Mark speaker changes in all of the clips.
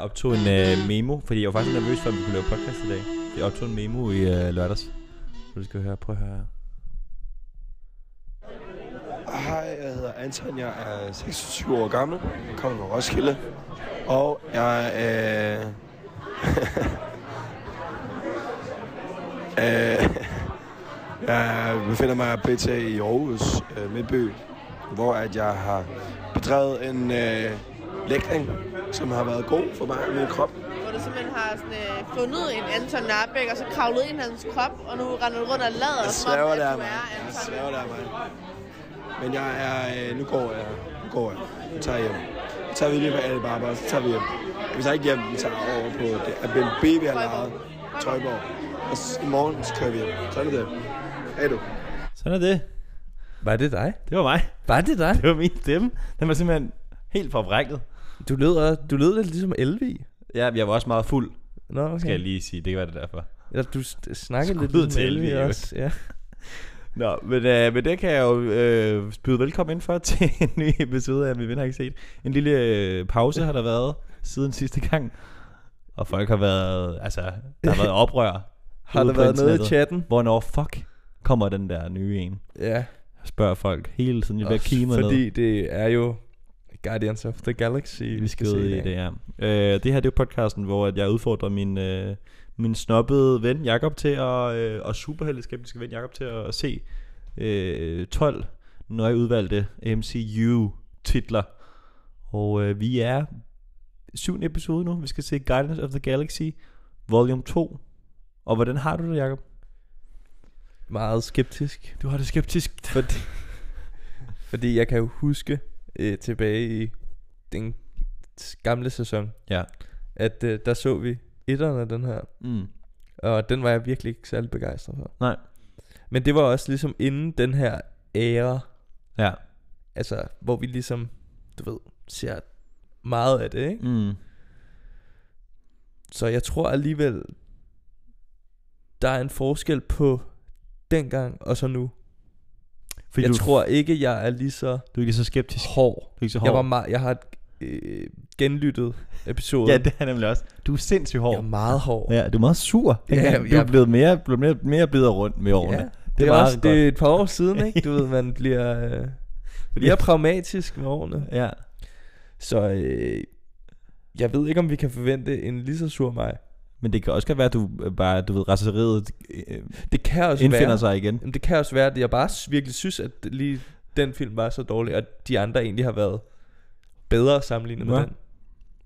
Speaker 1: optog en øh, memo, fordi jeg var faktisk nervøs for, om vi kunne lave podcast i dag. Jeg optog en memo i øh, lørdags. Så du skal høre, prøv at høre her.
Speaker 2: Hej, jeg hedder Anton, jeg er 26 år gammel, kommer fra Roskilde, og jeg øh, øh, jeg befinder mig pt. i Aarhus øh, Midtby, hvor at jeg har bedrevet en øh, lægning, som har været god for mig og min krop.
Speaker 3: Hvor du simpelthen har sådan, øh, fundet en Anton Narbæk, og så kravlet ind i hans krop, og nu render du rundt og lader
Speaker 2: Jeg
Speaker 3: som om,
Speaker 2: svæver,
Speaker 3: at
Speaker 2: det er
Speaker 3: du
Speaker 2: mig.
Speaker 3: er
Speaker 2: Jeg
Speaker 3: Anton.
Speaker 2: svæver, det er mig. Men jeg er... Øh, nu går jeg. Nu går jeg. Nu tager jeg hjem. Nu tager vi lige på alle barber, så tager vi hjem. Vi tager ikke hjem, vi tager over på det Airbnb, vi har
Speaker 3: Trøjborg.
Speaker 2: lejet. Trøjborg. Og så, i morgen, så kører vi hjem. Sådan er det. Hej du.
Speaker 4: Sådan er det.
Speaker 1: Var det dig?
Speaker 4: Det var mig.
Speaker 1: Var det dig?
Speaker 4: Det var min stemme. Den var simpelthen helt forvrænget.
Speaker 1: Du lød, du lød lidt ligesom Elvi.
Speaker 4: Ja, jeg var også meget fuld,
Speaker 1: Nå, okay.
Speaker 4: skal jeg lige sige. Det kan være det er derfor.
Speaker 1: Ja, du s- snakkede lidt
Speaker 4: Skud
Speaker 1: ligesom
Speaker 4: til
Speaker 1: Elvi
Speaker 4: Elvi, jo.
Speaker 1: også. Ja.
Speaker 4: Nå, men, øh, men det kan jeg jo øh, byde velkommen ind for til en ny episode af Vi Vinder Har Ikke Set. En lille øh, pause har der været siden sidste gang. Og folk har været, altså, der har været oprør.
Speaker 1: Har der
Speaker 4: ude på
Speaker 1: været noget i
Speaker 4: internettet.
Speaker 1: chatten?
Speaker 4: Hvornår fuck kommer den der nye en?
Speaker 1: Ja.
Speaker 4: Spørger folk hele tiden, de bliver
Speaker 1: Også
Speaker 4: kimet ned.
Speaker 1: Fordi det er jo Guardians of the Galaxy,
Speaker 4: vi skal
Speaker 1: se
Speaker 4: ud i det, ja. Øh, det her det er jo podcasten, hvor at jeg udfordrer min, øh, min snobbede ven Jakob til at, øh, og superheldeskeptiske ven Jakob til at, at se øh, 12 nøje udvalgte MCU-titler. Og øh, vi er syvende episode nu. Vi skal se Guardians of the Galaxy Volume 2. Og hvordan har du det, Jakob?
Speaker 1: Meget skeptisk.
Speaker 4: Du har det skeptisk.
Speaker 1: Fordi, fordi jeg kan jo huske øh, tilbage i den gamle sæson,
Speaker 4: Ja.
Speaker 1: at øh, der så vi etteren af den her,
Speaker 4: Mm.
Speaker 1: og den var jeg virkelig ikke særlig begejstret for.
Speaker 4: Nej.
Speaker 1: Men det var også ligesom inden den her æra,
Speaker 4: Ja.
Speaker 1: altså hvor vi ligesom, du ved, ser meget af det, ikke?
Speaker 4: Mm.
Speaker 1: Så jeg tror alligevel, der er en forskel på dengang og så nu.
Speaker 4: Fordi
Speaker 1: jeg
Speaker 4: du,
Speaker 1: tror ikke, jeg er lige så
Speaker 4: du er ikke så skeptisk.
Speaker 1: hård
Speaker 4: Du er ikke så hård.
Speaker 1: Jeg, var meget, jeg har et, øh, genlyttet episode.
Speaker 4: Ja, det er jeg nemlig også. Du er sindssygt hård.
Speaker 1: Jeg er meget hård.
Speaker 4: Ja, du er meget sur.
Speaker 1: Ja,
Speaker 4: Ja, du er
Speaker 1: jeg-
Speaker 4: blevet mere, blevet mere, mere blevet rundt med årene. Ja,
Speaker 1: Det, det, er
Speaker 4: meget
Speaker 1: også,
Speaker 4: godt.
Speaker 1: det er et par år siden, ikke? Du ved, man bliver øh, mere pragmatisk med årene.
Speaker 4: ja.
Speaker 1: Så øh, jeg ved ikke, om vi kan forvente en lige så sur mig.
Speaker 4: Men det kan også godt være, at du øh, bare, du ved, raseriet øh,
Speaker 1: Det kan også
Speaker 4: indfinder
Speaker 1: være,
Speaker 4: sig igen.
Speaker 1: Jamen, det kan også være, at jeg bare s- virkelig synes, at lige den film var så dårlig, og de andre egentlig har været bedre sammenlignet med
Speaker 4: Nå.
Speaker 1: den.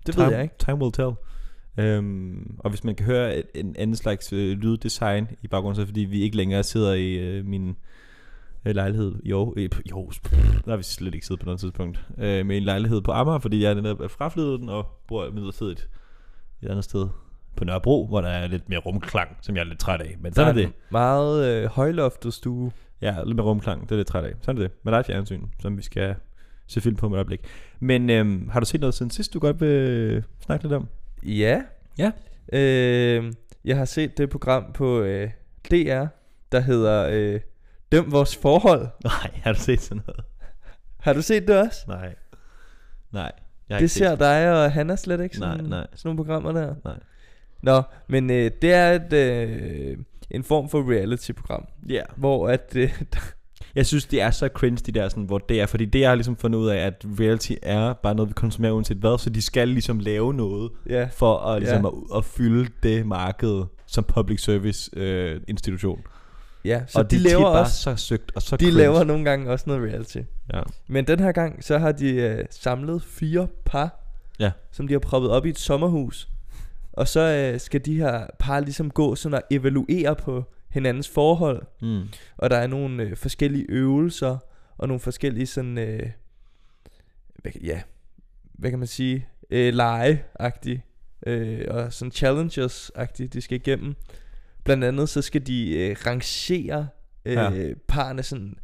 Speaker 1: Det
Speaker 4: time,
Speaker 1: ved jeg ikke.
Speaker 4: Time will tell. Øhm, og hvis man kan høre et, en anden slags øh, lyddesign i baggrunden, så er det fordi, vi ikke længere sidder i øh, min øh, lejlighed i Aarhus. Øh, i Aarhus. Der har vi slet ikke siddet på noget tidspunkt. Øh, med en lejlighed på Amager, fordi jeg netop er fraflyttet den og bor midlertidigt et andet sted på Nørrebro, hvor der er lidt mere rumklang, som jeg er lidt træt af. Men sådan er
Speaker 1: Der
Speaker 4: det.
Speaker 1: en Meget øh, højloftet stue.
Speaker 4: Ja, lidt med rumklang. Det er lidt træt af. Sådan er det. Men der er et fjernsyn, som vi skal se film på med et øjeblik. Men øhm, har du set noget siden sidst, du godt vil øh, snakke lidt om?
Speaker 1: Ja.
Speaker 4: Ja.
Speaker 1: Øh, jeg har set det program på øh, DR, der hedder øh, Døm vores forhold.
Speaker 4: Nej, har du set sådan noget?
Speaker 1: Har du set det også?
Speaker 4: Nej. Nej. Jeg har
Speaker 1: Det
Speaker 4: ikke set
Speaker 1: ser
Speaker 4: sådan
Speaker 1: dig og Hanna slet ikke
Speaker 4: Nej,
Speaker 1: sådan,
Speaker 4: nej.
Speaker 1: sådan nogle programmer der.
Speaker 4: Nej.
Speaker 1: Nå, men øh, det er et, øh, en form for reality-program,
Speaker 4: noget. Ja.
Speaker 1: hvor at... Øh,
Speaker 4: Jeg synes, det er så cringe, de der sådan, hvor det er. Fordi det, jeg har ligesom fundet ud af, at reality er bare noget, vi konsumerer uanset hvad. Så de skal ligesom lave noget
Speaker 1: ja,
Speaker 4: for at, ligesom,
Speaker 1: Ja.
Speaker 4: at, at fylde det marked som public service øh, institution.
Speaker 1: ja,
Speaker 4: Så
Speaker 1: så
Speaker 4: og
Speaker 1: de laver også...
Speaker 4: bare så søgt og så
Speaker 1: De
Speaker 4: cringe.
Speaker 1: laver nogle gange også noget reality.
Speaker 4: Ja.
Speaker 1: Men den her gang, så har de øh, samlet fire par,
Speaker 4: Ja.
Speaker 1: som de har proppet op i et sommerhus. Og så øh, skal de her par ligesom gå sådan og evaluere på hinandens forhold.
Speaker 4: Mm.
Speaker 1: Og der er nogle øh, forskellige øvelser, og nogle forskellige sådan, øh, hvad, kan- ja, hvad kan man sige, øh, lege-agtige, øh, og sådan challenges-agtige, de skal igennem. Blandt andet så skal de øh, rangere øh,
Speaker 4: Ja.
Speaker 1: ja. parerne sådan,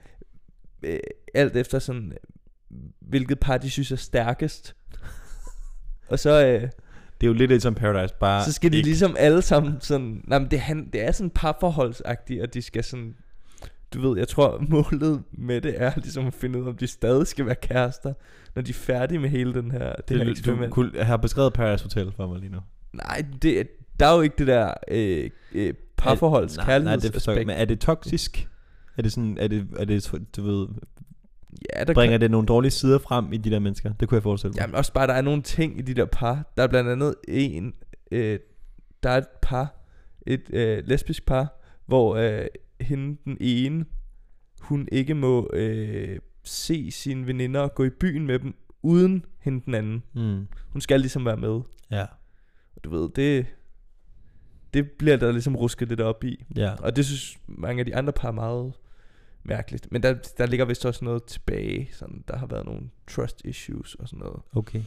Speaker 1: øh, alt efter sådan, øh, hvilket par de synes er stærkest. Og så, øh,
Speaker 4: Det er jo lidt ligesom Paradise, bare
Speaker 1: så skal de
Speaker 4: ikke,
Speaker 1: ligesom alle sammen sådan, nej, men det, han, det er sådan parforholdsagtigt, og de skal sådan du ved, jeg tror målet med det er ligesom at finde ud af, om de stadig skal være kærester, når de er færdige med hele den her, det, det her
Speaker 4: det, du
Speaker 1: eksperiment.
Speaker 4: kunne, jeg har beskrevet Paradise Hotel for mig lige nu.
Speaker 1: Nej, det, der er jo ikke det der øh, øh, parforholds
Speaker 4: Nej, nej, det forstår jeg.
Speaker 1: kærlighedsaspekt.
Speaker 4: Men er det toksisk? Er det sådan, er det, er det du ved,
Speaker 1: Ja, der
Speaker 4: bringer det nogle dårlige sider frem i de der mennesker? Det kunne jeg forestille mig.
Speaker 1: Jamen også bare, der er nogle ting i de der par. Der er blandt andet en, øh, der er et par, et øh, lesbisk par, hvor øh, hende den ene, hun ikke må øh, se sine veninder og gå i byen med dem, uden hende den anden.
Speaker 4: Mm.
Speaker 1: Hun skal ligesom være med.
Speaker 4: Ja,
Speaker 1: Og du ved, det, det bliver der ligesom rusket lidt op i.
Speaker 4: ja.
Speaker 1: Og det synes mange af de andre par er meget mærkeligt. Men der, der ligger vist også noget tilbage. Sådan, der har været nogle trust issues og sådan noget.
Speaker 4: Okay.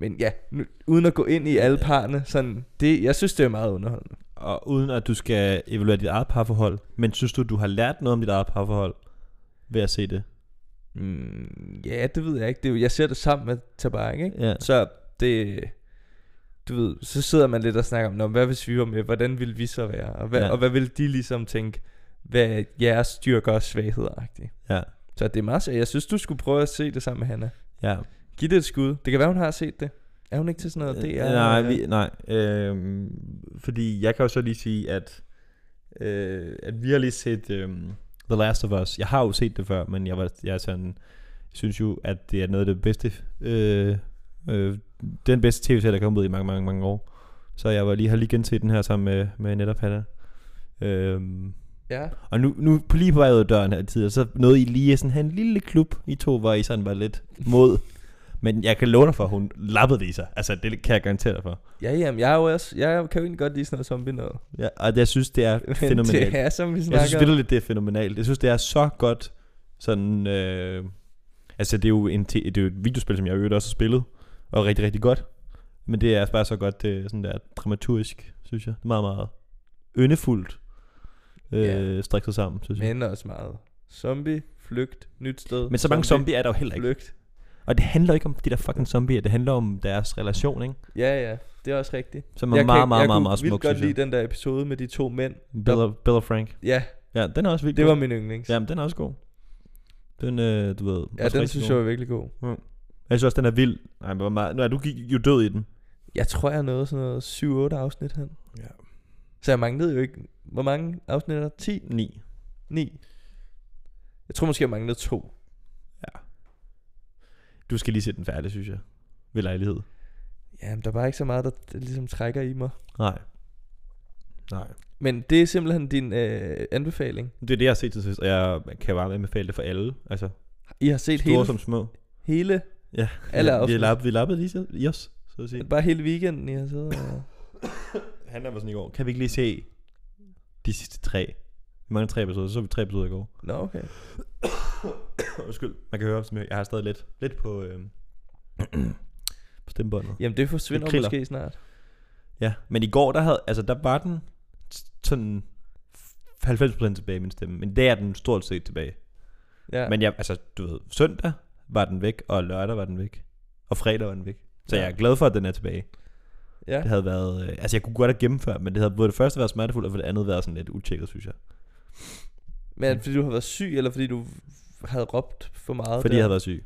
Speaker 1: Men ja, nu, uden at gå ind i alle parne, sådan, det, jeg synes, det er meget underholdende.
Speaker 4: Og uden at du skal evaluere dit eget parforhold, men synes du, du har lært noget om dit eget parforhold ved at se det?
Speaker 1: Mm, ja, det ved jeg ikke. Det er jo, jeg ser det sammen med Tabak, ikke?
Speaker 4: Ja.
Speaker 1: Så det... Du ved, så sidder man lidt og snakker om, Nå, hvad hvis vi var med, hvordan ville vi så være? Og hvad,
Speaker 4: Ja.
Speaker 1: ja. og hvad ville de ligesom tænke, hvad er jeres styrker og svagheder? -agtigt.
Speaker 4: Ja.
Speaker 1: Så det er meget sjovt. Jeg synes, du skulle prøve at se det sammen med Hanna.
Speaker 4: Ja.
Speaker 1: Giv det et skud. Det kan være, hun har set det. Er hun ikke til sådan noget? øh? Det er,
Speaker 4: nej, vi, nej. Øh, fordi jeg kan jo så lige sige, at, øh, at vi har lige set øh, The Last of Us. Jeg har jo set det før, men jeg, var, jeg er sådan, synes jo, at det er noget af det bedste, øh, øh, den bedste tv-serie, der er kommet ud i mange, mange, mange år. Så jeg var lige, har lige genset den her sammen med, med netop Hanna. Øh,
Speaker 1: Ja.
Speaker 4: Og nu, nu på- lige på vej ud af døren her tidligere, så nåede I lige at sådan have en lille klub, I to, hvor I sådan var lidt mod. Men jeg kan love dig for, at hun lappede det i sig. Altså, det kan jeg garantere dig for.
Speaker 1: Ja, jamen, jeg, er jo også, jeg kan jo egentlig godt lide sådan noget zombie noget.
Speaker 4: Ja, og jeg synes, det er
Speaker 1: Men
Speaker 4: fænomenalt.
Speaker 1: det er, som vi snakker
Speaker 4: jeg synes virkelig, det er fænomenalt. Jeg synes, det er så godt sådan... Øh, altså, det er jo en te- det er jo et videospil, som jeg i øvrigt også har spillet, og rigtig, rigtig godt. Men det er bare så godt, det er sådan der dramaturgisk, synes jeg. Det er meget, meget yndefuldt øh,
Speaker 1: Ja.
Speaker 4: strikket sammen, synes jeg.
Speaker 1: Men også meget. Zombie, flygt, nyt sted.
Speaker 4: Men så mange zombier er der jo heller ikke.
Speaker 1: Flygt.
Speaker 4: Og det handler ikke om de der fucking zombier, det handler om deres relation, ikke?
Speaker 1: Ja, ja. Det er også rigtigt.
Speaker 4: Som er meget, meget,
Speaker 1: jeg
Speaker 4: meget,
Speaker 1: kunne
Speaker 4: meget
Speaker 1: vildt
Speaker 4: smuk,
Speaker 1: godt
Speaker 4: synes jeg.
Speaker 1: lide den der episode med de to mænd.
Speaker 4: Bill, og, Bill og Frank.
Speaker 1: Ja,
Speaker 4: Ja, den er også virkelig
Speaker 1: det var
Speaker 4: god.
Speaker 1: min yndlings.
Speaker 4: Jamen, den er også god. Den, øh, du ved...
Speaker 1: ja
Speaker 4: også
Speaker 1: den
Speaker 4: rigtig
Speaker 1: synes
Speaker 4: god.
Speaker 1: jeg var virkelig god.
Speaker 4: Jeg synes også, den er vild. Nej, men hvor meget... Nej, du gik jo død i den.
Speaker 1: Jeg tror, jeg nåede sådan noget 7-8 afsnit hen.
Speaker 4: Ja.
Speaker 1: Så jeg manglede jo ikke... Hvor mange afsnit er der? 10?
Speaker 4: 9.
Speaker 1: 9? Jeg tror måske, jeg manglede to.
Speaker 4: Du skal lige se den færdig, synes jeg. Ved lejlighed.
Speaker 1: Jamen, der er bare ikke så meget, der, der ligesom trækker i mig.
Speaker 4: Nej. Nej.
Speaker 1: Men det er simpelthen din øh, anbefaling.
Speaker 4: Det er det, jeg har set til sidst, og jeg kan bare anbefale det for alle. Altså,
Speaker 1: I har set
Speaker 4: store
Speaker 1: hele,
Speaker 4: som små.
Speaker 1: hele,
Speaker 4: Ja.
Speaker 1: alle
Speaker 4: vi,
Speaker 1: afsnit.
Speaker 4: lappede, vi lappede lige så, i os, så at sige.
Speaker 1: Bare hele weekenden, I har siddet og...
Speaker 4: Han var sådan i går. Kan vi ikke lige se de sidste tre? Vi mangler tre episoder, så så vi tre episoder i går.
Speaker 1: Nå, okay.
Speaker 4: Undskyld, man kan høre, som jeg, jeg har stadig lidt, lidt på, øh, på stemmebåndet.
Speaker 1: Jamen det forsvinder
Speaker 4: Det
Speaker 1: det
Speaker 4: kriller.
Speaker 1: måske snart.
Speaker 4: Ja, men i går, der, havde, altså, der var den s- sådan 90% tilbage i min stemme, men der er den stort set tilbage.
Speaker 1: Ja.
Speaker 4: Ja. Men jeg, altså, du ved, søndag var den væk, og lørdag var den væk, og fredag var den væk. Så
Speaker 1: Ja.
Speaker 4: jeg er glad for, at den er tilbage.
Speaker 1: ja.
Speaker 4: Det havde været, øh, altså jeg kunne godt have gennemført, men det havde både det første været smertefuldt, og for det andet været sådan lidt utjekket, synes jeg.
Speaker 1: Men er det fordi du har været syg, eller fordi du havde råbt for meget?
Speaker 4: Fordi
Speaker 1: der?
Speaker 4: jeg havde været syg.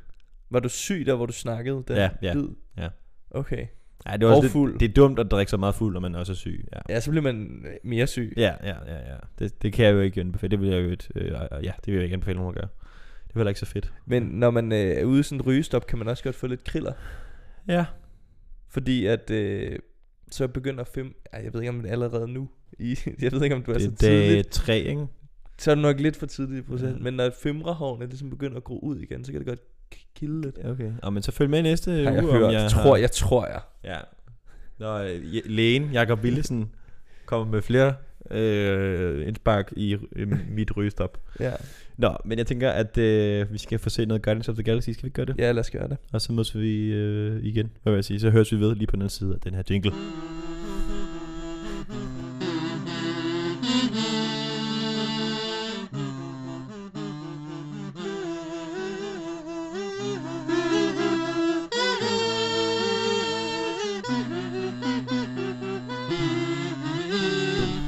Speaker 1: Var du syg der, hvor du snakkede? Den
Speaker 4: Ja, ja,
Speaker 1: lyd?
Speaker 4: ja.
Speaker 1: Okay.
Speaker 4: Ja, det, er også
Speaker 1: Og
Speaker 4: lidt,
Speaker 1: fuld.
Speaker 4: det er dumt at drikke så meget fuld, når man også er syg. Ja,
Speaker 1: Ja, så bliver man øh, mere syg.
Speaker 4: ja, ja. ja, ja. Det, det kan jeg jo ikke anbefale. Det vil jeg jo ikke, øh, øh, ja, det vil jeg ikke anbefale nogen at gøre. Det er heller ikke så fedt.
Speaker 1: Men når man øh, er ude i sådan en rygestop, kan man også godt få lidt kriller.
Speaker 4: Ja.
Speaker 1: Fordi at øh, så begynder fem... Ej, jeg ved ikke, om det er allerede nu. I, jeg ved ikke, om du Altså, er,
Speaker 4: Det
Speaker 1: så
Speaker 4: er dag
Speaker 1: tidligt.
Speaker 4: 3, ikke?
Speaker 1: Så er du nok lidt for tidligt i processen.
Speaker 4: Ja.
Speaker 1: Men når femrehårene ligesom begynder at gro ud igen, så kan det godt k- kilde lidt.
Speaker 4: Okay. Og, men så følg med næste
Speaker 1: Har jeg
Speaker 4: uge,
Speaker 1: hørt.
Speaker 4: om jeg
Speaker 1: tror,
Speaker 4: har...
Speaker 1: jeg tror jeg.
Speaker 4: Ja. Når øh, Je- lægen Jakob Willesen kommer med flere øh, indspark i øh, mit rygestop.
Speaker 1: Ja,
Speaker 4: Nå, men jeg tænker, at øh, vi skal få set noget Guardians of the Galaxy. Skal vi ikke gøre det?
Speaker 1: ja lad os gøre det.
Speaker 4: Og så mødes vi øh, igen, hvad vil jeg sige. Så høres vi ved lige på den anden side af den her jingle.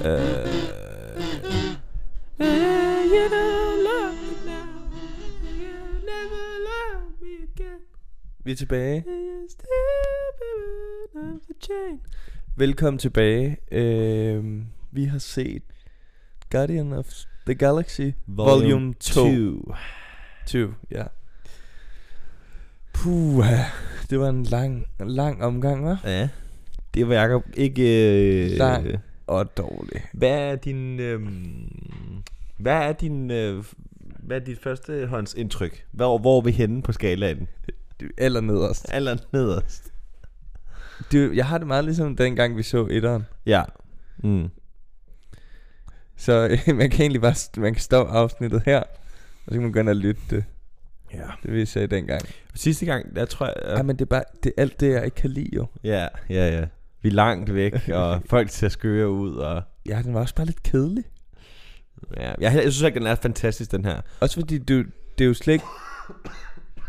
Speaker 1: Uh, yeah. Vi er tilbage. Velkommen tilbage. Øhm, vi har set Guardian of the Galaxy Volume, Volume 2. 2. Ja. Puh, det var en lang, lang omgang, var.
Speaker 4: Ja. Det var Jacob ikke... Øh,
Speaker 1: Lang. Og dårlig.
Speaker 4: Hvad er din... Øhm, hvad er din... Øh, hvad er dit førstehåndsindtryk? Hvor, hvor er vi henne på skalaen?
Speaker 1: Det er aller nederst.
Speaker 4: Aller nederst.
Speaker 1: Det, jeg har det meget ligesom dengang, vi så etteren.
Speaker 4: Ja. Mm.
Speaker 1: Så øh, man kan egentlig bare st- man kan stoppe afsnittet her, og så kan man gå ind og lytte det,
Speaker 4: Ja.
Speaker 1: det vi sagde dengang.
Speaker 4: Sidste gang, der tror jeg...
Speaker 1: Ja. Ej, men det er bare det, er alt det, jeg ikke kan lide jo.
Speaker 4: Ja, ja, ja. Vi er langt væk, og folk ser skøre ud, og...
Speaker 1: Ja, den var også bare lidt kedelig.
Speaker 4: Ja, jeg, jeg synes ikke, den er fantastisk, den her.
Speaker 1: Også fordi det, det er jo slet ikke...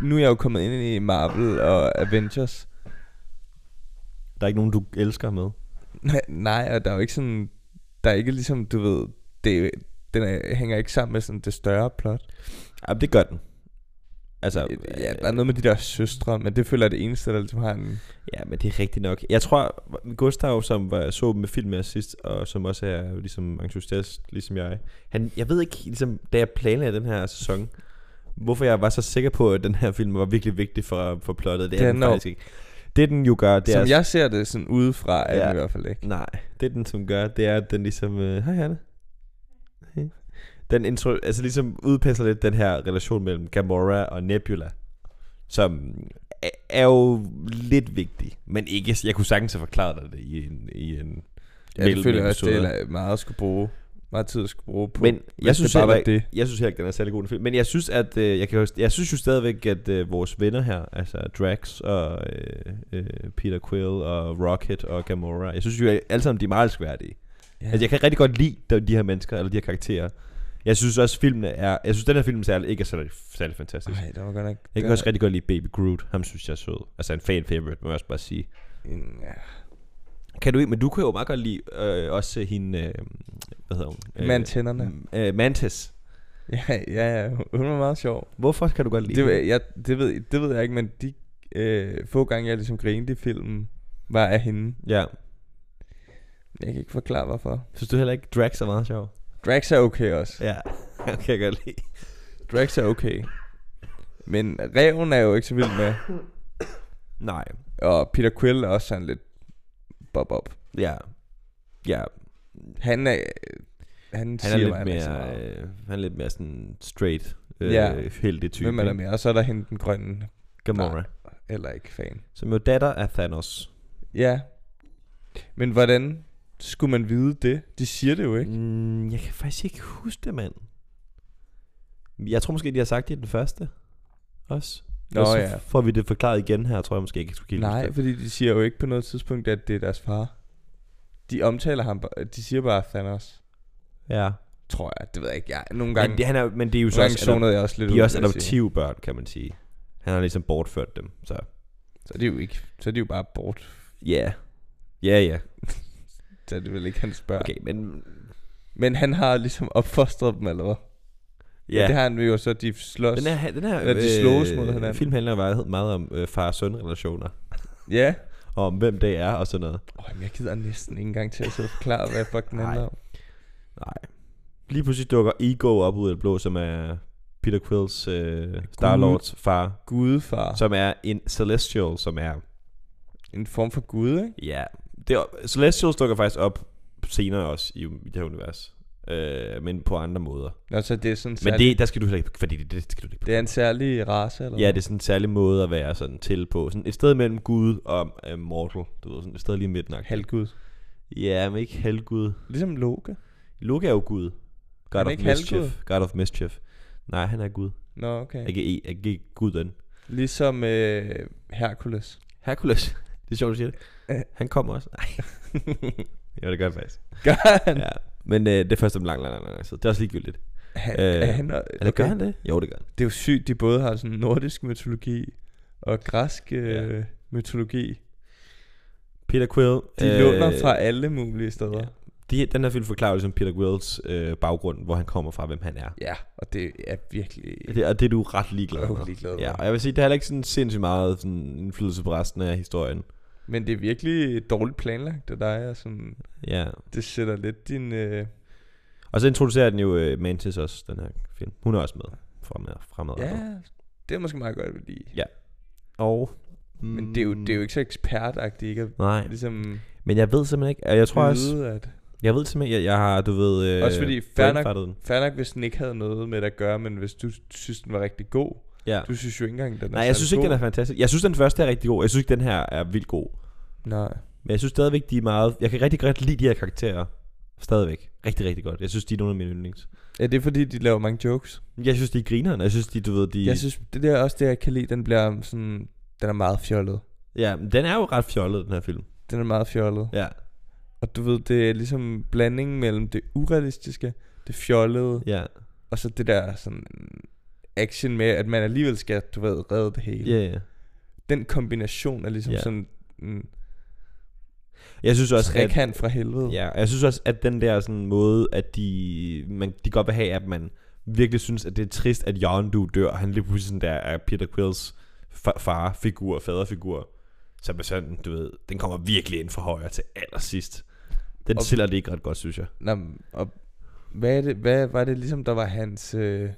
Speaker 1: Nu er jeg jo kommet ind i Marvel og Avengers.
Speaker 4: Der er ikke nogen, du elsker med.
Speaker 1: Nej, og der er jo ikke sådan... Der er ikke ligesom, du ved... Det, den er, hænger ikke sammen med sådan det større plot.
Speaker 4: Ja, det gør den. Altså,
Speaker 1: Ja, der er noget med de der søstre, men det føler jeg er det eneste, der ligesom har en...
Speaker 4: Ja, men det er rigtigt nok. Jeg tror, Gustav, som var, så dem med film med sidst, og som også er jo ligesom entusiast, ligesom jeg, han, jeg ved ikke, ligesom, da jeg planlagde den her sæson, hvorfor jeg var så sikker på, at den her film var virkelig vigtig for, for plottet. Det er
Speaker 1: Det er
Speaker 4: den
Speaker 1: den
Speaker 4: faktisk ikke. Det den jo gør, det
Speaker 1: Det som
Speaker 4: er...
Speaker 1: jeg ser det sådan udefra, er
Speaker 4: Ja.
Speaker 1: ja. i hvert fald ikke.
Speaker 4: Nej, det den som gør, det er, at den ligesom... Øh, Hej, Hanne. Hej. Den intro, altså ligesom udpensler lidt den her relation mellem Gamora og Nebula, som er, er jo lidt vigtig, men ikke, jeg kunne sagtens have forklaret dig det i en, i en
Speaker 1: Ja, det
Speaker 4: mellem
Speaker 1: føler jeg også, det
Speaker 4: episoder.
Speaker 1: er meget at skulle bruge. Meget tid at skulle bruge på.
Speaker 4: Men jeg
Speaker 1: det
Speaker 4: synes,
Speaker 1: bare
Speaker 4: heller
Speaker 1: var
Speaker 4: ikke,
Speaker 1: det.
Speaker 4: jeg synes heller ikke, den er særlig god den film. Men jeg synes, at, øh, jeg, kan, jo- jeg synes jo stadigvæk, at øh, vores venner her, altså Drax og øh, øh, Peter Quill og Rocket og Gamora, jeg synes jo at alle sammen, de er meget elskværdige. Ja.
Speaker 1: Ja.
Speaker 4: Altså, jeg kan rigtig godt lide de de her mennesker, eller de her karakterer. Jeg synes også, filmen er, jeg synes, den her film særlig, ikke er særlig, særlig fantastisk.
Speaker 1: Ej, det var godt nok...
Speaker 4: Jeg kan
Speaker 1: der-
Speaker 4: også rigtig godt lide Baby Groot. Ham synes jeg er sød. Altså en fan favorite, må jeg også bare sige.
Speaker 1: Ja.
Speaker 4: Kan du ikke, men du kan jo meget godt lide øh, også hende, øh, hvad hedder hun?
Speaker 1: Mand tænderne.
Speaker 4: Øh, Mantis.
Speaker 1: Ja, ja, ja, hun var meget sjov.
Speaker 4: Hvorfor kan du godt lide
Speaker 1: Det,
Speaker 4: hende?
Speaker 1: ved- jeg, det, ved, det ved jeg ikke, men de øh, få gange, jeg ligesom grinede i filmen, var af hende.
Speaker 4: Ja.
Speaker 1: Jeg kan ikke forklare, hvorfor.
Speaker 4: Synes du heller ikke, Drax er meget sjov?
Speaker 1: Drax er okay også.
Speaker 4: Ja, kan jeg godt lide.
Speaker 1: Drax er okay. Men Reven er jo ikke så vild med.
Speaker 4: Nej,
Speaker 1: Og Peter Quill er også sådan lidt bob-op.
Speaker 4: ja. Ja,
Speaker 1: Han er... Han,
Speaker 4: han
Speaker 1: siger
Speaker 4: er
Speaker 1: mig,
Speaker 4: lidt
Speaker 1: ikke så
Speaker 4: mere,
Speaker 1: meget.
Speaker 4: øh, han er lidt mere sådan straight, øh,
Speaker 1: Ja.
Speaker 4: heldig type.
Speaker 1: Hvem er der
Speaker 4: ikke?
Speaker 1: mere? Og så er der hende den grønne,
Speaker 4: Gamora.
Speaker 1: eller ikke fan.
Speaker 4: Som jo datter af Thanos.
Speaker 1: Ja. Men hvordan skulle man vide det? De siger det jo ikke.
Speaker 4: Mm, jeg kan faktisk ikke huske det, mand. Jeg tror måske, de har sagt det i den første. Også.
Speaker 1: Nå,
Speaker 4: Og så
Speaker 1: ja.
Speaker 4: får vi det forklaret igen her, tror jeg måske ikke, jeg skulle helt huske
Speaker 1: Nej,
Speaker 4: det.
Speaker 1: fordi de siger jo ikke på noget tidspunkt, at det er deres far. De omtaler ham, ba- de siger bare Thanos,
Speaker 4: Ja.
Speaker 1: tror jeg. Det ved jeg ikke. Jeg, nogle gange,
Speaker 4: Men det,
Speaker 1: ja,
Speaker 4: han er, men det er jo
Speaker 1: nogle
Speaker 4: så
Speaker 1: gange
Speaker 4: også, adop-
Speaker 1: zonede jeg også lidt
Speaker 4: de
Speaker 1: ud,
Speaker 4: er også
Speaker 1: vil jeg sige.
Speaker 4: adoptive børn, kan man sige. Han har ligesom bortført dem, så...
Speaker 1: Så er det jo ikke, så er det jo bare bort.
Speaker 4: Ja. Ja, ja.
Speaker 1: Så er det vel ikke hans børn. Okay.
Speaker 4: Okay, men...
Speaker 1: Men han har ligesom opfostret dem allerede.
Speaker 4: Ja.
Speaker 1: Det har han jo, så de slås.
Speaker 4: Den her, den her øh,
Speaker 1: Eller de slås mod hinanden.
Speaker 4: film handler meget, meget om øh, far-søn-relationer.
Speaker 1: Ja.
Speaker 4: Og om hvem det er og sådan noget.
Speaker 1: Åh, oh, jeg gider næsten ikke engang til at sidde og forklare, hvad fuck den
Speaker 4: Nej.
Speaker 1: handler om.
Speaker 4: Nej. Lige pludselig dukker Ego op ud af det blå, som er Peter Quills øh, Star-Lords far.
Speaker 1: Gudefar. Så.
Speaker 4: Som er en Celestial, som er...
Speaker 1: En form for gud, ikke?
Speaker 4: Ja. Det er, Celestials dukker faktisk op senere også i, i det her univers. Øh, men på andre måder.
Speaker 1: Nå, så det er sådan
Speaker 4: Men
Speaker 1: særlig,
Speaker 4: det, der skal du heller ikke... Fordi det, det skal du ikke...
Speaker 1: det er en særlig race, eller
Speaker 4: Ja,
Speaker 1: hvad?
Speaker 4: det er sådan en særlig måde at være sådan til på. Sådan et sted mellem Gud og øh, mortal. Du ved, sådan et sted lige midten.
Speaker 1: Halvgud.
Speaker 4: Ja, men ikke halvgud.
Speaker 1: Ligesom Loke.
Speaker 4: Loke er jo gud. God
Speaker 1: Han
Speaker 4: of
Speaker 1: er ikke
Speaker 4: mischief.
Speaker 1: halvgud?
Speaker 4: God of mischief. Nej, han er gud.
Speaker 1: Nå, okay.
Speaker 4: Ikke, e, ikke guden.
Speaker 1: Ligesom øh, Hercules.
Speaker 4: Hercules. Det er sjovt, du siger det. Han kommer også. Nej. jo, det gør han faktisk.
Speaker 1: Gør han?
Speaker 4: Ja. Men øh, det er først om lang, lang, lang, lang tid. Det er også ligegyldigt.
Speaker 1: han,
Speaker 4: Øh,
Speaker 1: er han og-
Speaker 4: Eller okay. gør han det? Jo, det gør han.
Speaker 1: Det er jo sygt, de både har sådan nordisk mytologi og græsk øh,
Speaker 4: Ja.
Speaker 1: mytologi.
Speaker 4: Peter Quill.
Speaker 1: De øh, låner fra alle mulige steder.
Speaker 4: Øh, ja.
Speaker 1: Ja.
Speaker 4: De, den her film forklarer ligesom Peter Quills øh, baggrund, hvor han kommer fra, hvem han er.
Speaker 1: Ja, og det er virkelig...
Speaker 4: Det, og det er du ret ligeglad med.
Speaker 1: Jeg er ligeglad med.
Speaker 4: Ja, og jeg vil sige, det har heller ikke sådan sindssygt meget sådan indflydelse på resten af historien.
Speaker 1: Men det er virkelig dårligt planlagt, og der er sådan...
Speaker 4: Ja.
Speaker 1: Det sætter lidt din... Øh,
Speaker 4: Og så introducerer den jo øh, Mantis også, den her film. Hun er også med fremad, fremad.
Speaker 1: ja, det er måske meget godt, fordi...
Speaker 4: Og,
Speaker 1: Men det er jo, det er jo ikke så ekspertagtigt, ikke? At
Speaker 4: Nej,
Speaker 1: ligesom
Speaker 4: men jeg ved simpelthen ikke, og jeg tror også,
Speaker 1: vide, at...
Speaker 4: jeg ved simpelthen, jeg, jeg har, du ved, øh,
Speaker 1: Mm. Også fordi fair nok-
Speaker 4: brainfartet den.
Speaker 1: Fair nok, hvis den ikke havde noget med det at gøre, men hvis du synes, den var rigtig god...
Speaker 4: Ja.
Speaker 1: Du synes jo ikke engang, den er
Speaker 4: Nej, jeg synes ikke, den er fantastisk. Jeg synes, den første er rigtig god. Jeg synes ikke, den her er vildt god.
Speaker 1: Nej.
Speaker 4: Men jeg synes stadigvæk, de er meget... Jeg kan rigtig godt lide de her karakterer. Stadigvæk. Rigtig, rigtig godt. Jeg synes, de er nogle af mine yndlings.
Speaker 1: Ja, det er fordi, de laver mange jokes.
Speaker 4: Jeg synes, de er grineren. Jeg synes, de, du ved, de...
Speaker 1: Jeg synes, det der også, det jeg kan lide, den bliver sådan... Den er meget fjollet.
Speaker 4: Ja, men den er jo ret fjollet, den her film.
Speaker 1: Den er meget fjollet.
Speaker 4: Ja,
Speaker 1: Og du ved, det er ligesom blandingen mellem det urealistiske, det fjollede,
Speaker 4: ja,
Speaker 1: og så det der sådan action med, at man alligevel skal, du ved, redde det hele.
Speaker 4: ja, ja.
Speaker 1: Den kombination er ligesom
Speaker 4: Ja.
Speaker 1: sådan en
Speaker 4: Jeg synes også, at...
Speaker 1: trekant fra helvede.
Speaker 4: Ja, og jeg synes også, at den der sådan måde, at de, man, de godt vil have, at man virkelig synes, at det er trist, at Jon du dør. Han lige pludselig sådan der er Peter Quills fa- farfigur, faderfigur. Så er sådan, du ved, den kommer virkelig ind fra højre til allersidst. Den
Speaker 1: Og-
Speaker 4: sælger det ikke ret godt, synes jeg.
Speaker 1: Nå, men, og hvad, er det, hvad var det ligesom, der var hans øh,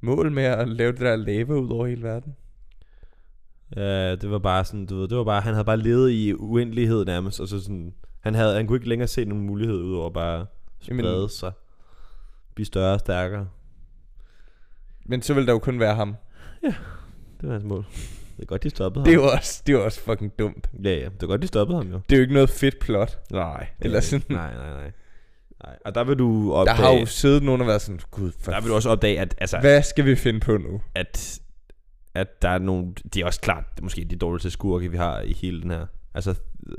Speaker 1: mål med at lave det der lava ud over hele verden?
Speaker 4: Ja, Øh, det var bare sådan, du ved, det var bare, han havde bare levet i uendelighed nærmest, og så sådan, han, havde, han kunne ikke længere se nogen mulighed udover bare at
Speaker 1: Jamen-
Speaker 4: sprede sig, blive større og stærkere.
Speaker 1: Men så ville der jo kun være ham.
Speaker 4: Det var hans mål. Det er godt, de stoppede
Speaker 1: Det er
Speaker 4: ham.
Speaker 1: jo også, det er jo også fucking dumt.
Speaker 4: Ja, ja, det er godt, de stoppede ham jo.
Speaker 1: Det er jo ikke noget fedt plot.
Speaker 4: Nej.
Speaker 1: Eller sådan.
Speaker 4: Nej, nej, nej. nej. Og der vil du
Speaker 1: Der
Speaker 4: opdage...
Speaker 1: har jo siddet nogen og været sådan, gud, for
Speaker 4: der vil du også opdage, at, altså,
Speaker 1: hvad skal vi finde på nu?
Speaker 4: at, at der er nogle... Det er også klart, det er måske de dårligste skurke, vi har i hele den her. Altså,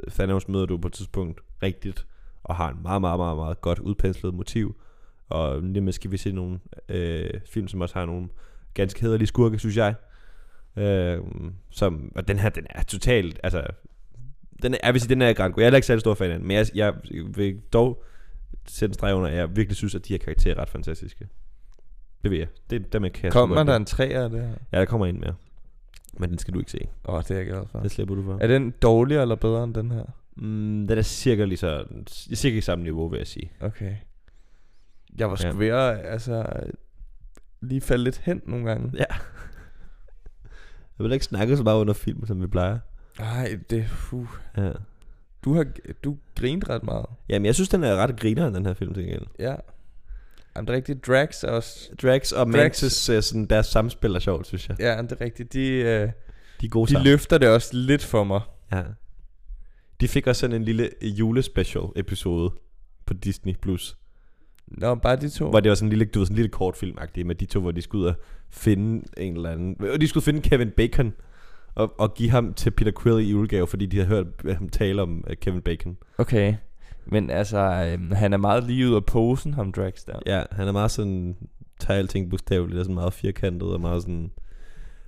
Speaker 4: Thanos møder du på et tidspunkt rigtigt, og har en meget, meget, meget, meget godt udpenslet motiv. Og lige med skal vi se nogle øh, film, som også har nogle ganske hederlige skurke, synes jeg. Øh, som, og den her, den er totalt, altså, den er, jeg vil sige, den er ikke ret god. Jeg er heller ikke særlig stor fan af den, men jeg, jeg vil dog sætte en streg under, at jeg virkelig synes, at de her karakterer er ret fantastiske. Det vil jeg. Det, dem, jeg kan jeg sgu
Speaker 1: Kommer
Speaker 4: godt
Speaker 1: der
Speaker 4: lide.
Speaker 1: en træer af det her?
Speaker 4: Ja, der kommer en mere. Men den skal du ikke se.
Speaker 1: Åh, oh, det er jeg glad for.
Speaker 4: Den slipper du for.
Speaker 1: Er den dårligere eller bedre end den her?
Speaker 4: Mm, den er cirka lige så... Cirka i samme niveau, vil jeg sige.
Speaker 1: Okay. Jeg var sgu
Speaker 4: Ja.
Speaker 1: ja. ved at, altså, lige falde lidt hen nogle gange.
Speaker 4: Ja. Jeg vil ikke snakke så meget under film, som vi plejer.
Speaker 1: Nej, det, uh,
Speaker 4: Ja.
Speaker 1: du har, du grinte ret meget.
Speaker 4: Jamen, jeg synes, den er ret grineren, den her film, til gengæld.
Speaker 1: Ja. Jamen, det er rigtigt, drags er også,
Speaker 4: Drax og
Speaker 1: Drax-
Speaker 4: Mantis, øh, sådan, deres samspil er sjovt, synes jeg.
Speaker 1: ja, jamen, det er rigtigt, de, øh,
Speaker 4: De er gode
Speaker 1: de
Speaker 4: sammen.
Speaker 1: løfter det også lidt for mig.
Speaker 4: Ja. De fik også sådan en lille julespecial episode på Disney+. Plus,
Speaker 1: Nå, bare de to.
Speaker 4: Hvor det var sådan en lille, du ved, sådan en lille kortfilm med de to, hvor de skulle ud og finde en eller anden... Og de skulle finde Kevin Bacon og, og give ham til Peter Quill i julegave, fordi de havde hørt ham tale om øh, Kevin Bacon.
Speaker 1: Okay. Men altså, øhm, han er meget lige ud af posen, ham Drax der.
Speaker 4: Ja, han er meget sådan... Tager alting bogstaveligt og sådan meget firkantet og meget sådan...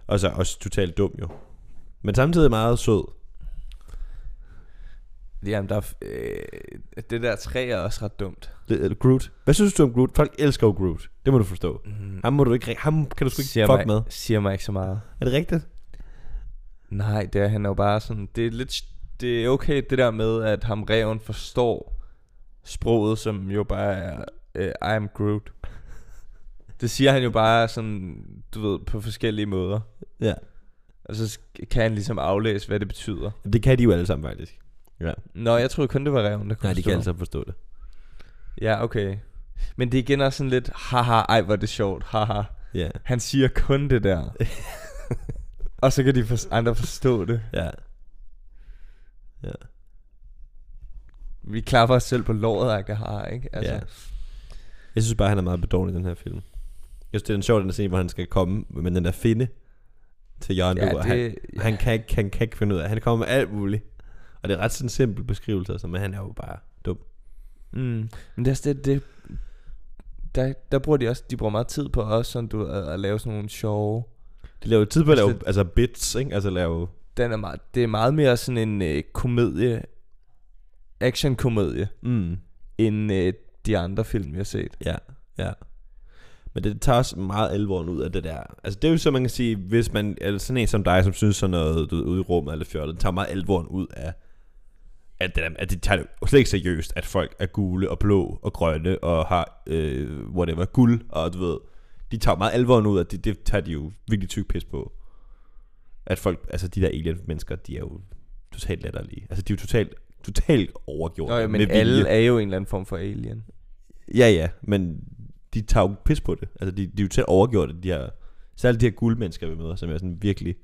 Speaker 4: Og så også totalt dum jo. Men samtidig meget sød.
Speaker 1: Jamen, der, er f- øh, det der træ er også ret dumt.
Speaker 4: L- øh, Groot. Hvad synes du om Groot? Folk elsker jo Groot. Det må du forstå.
Speaker 1: Mm.
Speaker 4: Ham, må du ikke, ri- ham kan du sgu ikke
Speaker 1: Siger
Speaker 4: fuck
Speaker 1: mig,
Speaker 4: med.
Speaker 1: Siger mig ikke så meget.
Speaker 4: Er det rigtigt?
Speaker 1: Nej, det er han er jo bare sådan... Det er lidt... Det er okay det der med, at ham reven forstår sproget, som jo bare er... Øh, I am Groot. Det siger han jo bare sådan, du ved, på forskellige måder.
Speaker 4: Ja.
Speaker 1: Og så sk- kan han ligesom aflæse, hvad det betyder.
Speaker 4: Det kan de jo alle sammen faktisk.
Speaker 1: Nå, jeg troede kun, det var reven, der kunne
Speaker 4: Nej, de kan
Speaker 1: forstå.
Speaker 4: altså- alle sammen forstå det.
Speaker 1: Ja, okay. Men det er igen også sådan lidt, haha, ej, hvor er det sjovt, haha.
Speaker 4: Ja.
Speaker 1: Han siger kun det der. og så kan de for- andre forstå det.
Speaker 4: Ja.
Speaker 1: Vi klapper os selv på låret, agtig, haha, ikke? Altså,
Speaker 4: Ja. Jeg synes bare, han er meget bedårlig i den her film. Jeg synes, det er en sjov den scene, hvor han skal komme med den der finde til Jørgen ja, det... han,
Speaker 1: ja.
Speaker 4: han, kan ikke, han kan ikke finde ud af. Han kommer med alt muligt. Og det er ret sådan en simpel beskrivelse, altså, men han er jo bare dum.
Speaker 1: Mm. Men det er også det, det der, der bruger de også, de bruger meget tid på også, sådan du, at, at lave sådan nogle sjove,
Speaker 4: De laver jo tid på at lave
Speaker 1: Altså,
Speaker 4: altså bits, ikke? Altså lave...
Speaker 1: den er meget, det er meget mere sådan en øh, komedie, action komedie,
Speaker 4: Mm.
Speaker 1: end øh, de andre film, jeg har set.
Speaker 4: Ja, ja. Men det tager også meget alvoren ud af det der. Altså det er jo så, man kan sige, hvis man er sådan en som dig, som synes sådan noget du, ved, ude i rummet eller fjollet, det tager meget alvoren ud af, at det, der, at det tager det jo slet ikke seriøst, at folk er gule og blå og grønne og har, øh, whatever, guld og du ved, de tager meget alvoren ud af, det, det tager de jo virkelig tyk pis på. At folk, altså de der alien mennesker, de er jo totalt latterlige. Altså de er jo totalt, totalt overgjort.
Speaker 1: Nå, ja, men
Speaker 4: med
Speaker 1: alle
Speaker 4: vilje.
Speaker 1: er jo en eller anden form for alien.
Speaker 4: Ja, ja, men de tager jo pis på det. Altså, de, de er jo tæt overgjort det, de her... Særligt de her guldmennesker, vi møder, som er sådan virkelig...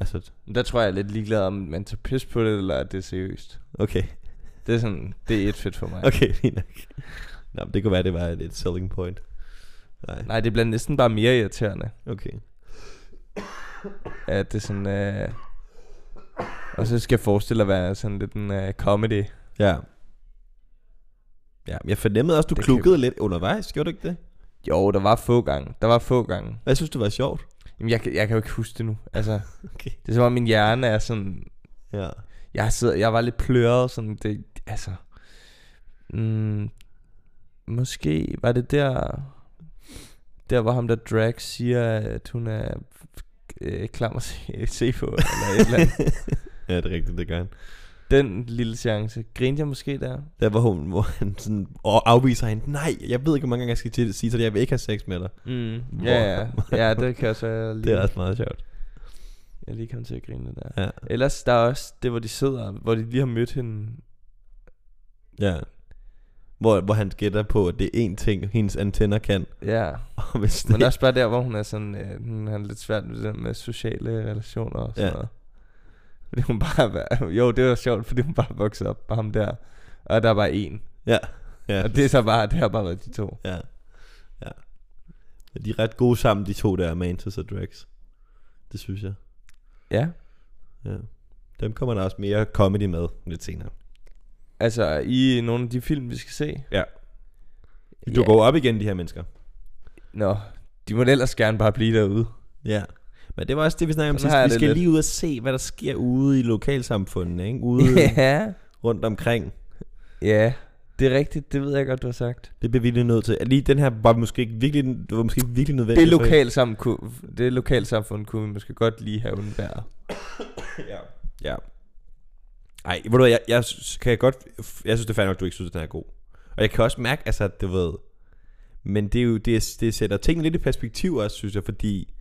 Speaker 4: Altså,
Speaker 1: Men der tror jeg, jeg er lidt ligeglad, om man tager pis på det, eller at det er seriøst.
Speaker 4: okay,
Speaker 1: Det er sådan, det er et fedt for mig.
Speaker 4: okay, fint nok. Nå, men det kunne være, det var et, et selling point. Nej,
Speaker 1: Nej, det bliver næsten bare mere irriterende,
Speaker 4: okay.
Speaker 1: at det sådan Øh... Og så skal jeg forestille at være sådan lidt en øh, comedy.
Speaker 4: Ja. Ja, men jeg fornemmede også, du
Speaker 1: Det kan
Speaker 4: klukkede lidt undervejs, gjorde du ikke det?
Speaker 1: Jo, der var få gange. Der var få gange.
Speaker 4: Hvad synes du var sjovt?
Speaker 1: Jamen, jeg, kan- jeg kan jo ikke huske det nu. Altså,
Speaker 4: Okay.
Speaker 1: det er som om, min hjerne er sådan...
Speaker 4: Ja.
Speaker 1: Jeg, sidder, jeg var lidt pløret, sådan det... Altså... Mm, måske var det der... Der hvor ham der drag siger, at hun er øh, klam at se, se på, eller et eller andet.
Speaker 4: ja, det er rigtigt, det gør han.
Speaker 1: Den lille chance. Grinte jeg måske der?
Speaker 4: Der var hun, hvor han sådan og afviser hende. Nej, jeg ved ikke, hvor mange gange jeg skal til at sige til dig, jeg vil ikke have sex med dig.
Speaker 1: Mm,
Speaker 4: Hvor-
Speaker 1: ja, ja, ja, det kan jeg så jeg
Speaker 4: Det
Speaker 1: lige,
Speaker 4: er også meget sjovt.
Speaker 1: jeg lige komme til at grine lidt der.
Speaker 4: Ja.
Speaker 1: Ellers der er også det, hvor de sidder, hvor de lige har mødt hende.
Speaker 4: Ja. Hvor, hvor han gætter på, at det er én ting, hendes antenner kan.
Speaker 1: Ja,
Speaker 4: Og hvis det,
Speaker 1: men også bare der, hvor hun er sådan, øh, hun har lidt svært med, det der med sociale relationer og sådan
Speaker 4: Ja.
Speaker 1: ja. noget. Fordi hun bare, var- jo, det var sjovt, fordi hun bare voksede op med ham der. Og der var en.
Speaker 4: Ja. Ja.
Speaker 1: Og det er så bare, det har bare været de to.
Speaker 4: ja. ja. Men de er ret gode sammen, de to der, Mantis og Drax. Det synes jeg.
Speaker 1: Ja.
Speaker 4: Ja. Dem kommer der også mere comedy med lidt senere.
Speaker 1: Altså, i nogle af de film, vi skal se.
Speaker 4: Ja. Du går op igen, de her mennesker.
Speaker 1: Nå, de må ellers gerne bare blive derude.
Speaker 4: Ja. Men det var også det, vi snakkede om
Speaker 1: Sådan
Speaker 4: sidst.
Speaker 1: har jeg
Speaker 4: Vi
Speaker 1: det
Speaker 4: skal
Speaker 1: lidt.
Speaker 4: lige ud og se, hvad der sker ude i lokalsamfundene, ikke? Ude
Speaker 1: Ja.
Speaker 4: rundt omkring.
Speaker 1: Ja, det er rigtigt. Det ved jeg godt, du har sagt.
Speaker 4: Det bliver vi lige nødt til. Lige den her var måske ikke virkelig, det var måske ikke virkelig nødvendigt.
Speaker 1: Det
Speaker 4: for-
Speaker 1: lokalsamfund, kunne, det lokalsamfund kunne vi måske godt lige have undværet.
Speaker 4: Ja. Ja. Ej, ved du hvad, jeg, jeg synes- kan jeg godt... Jeg synes, det er fair nok, du ikke synes, at den er god. Og jeg kan også mærke, altså, at det ved... Men det, er jo, det, er- det sætter tingene lidt i perspektiv også, synes jeg, fordi...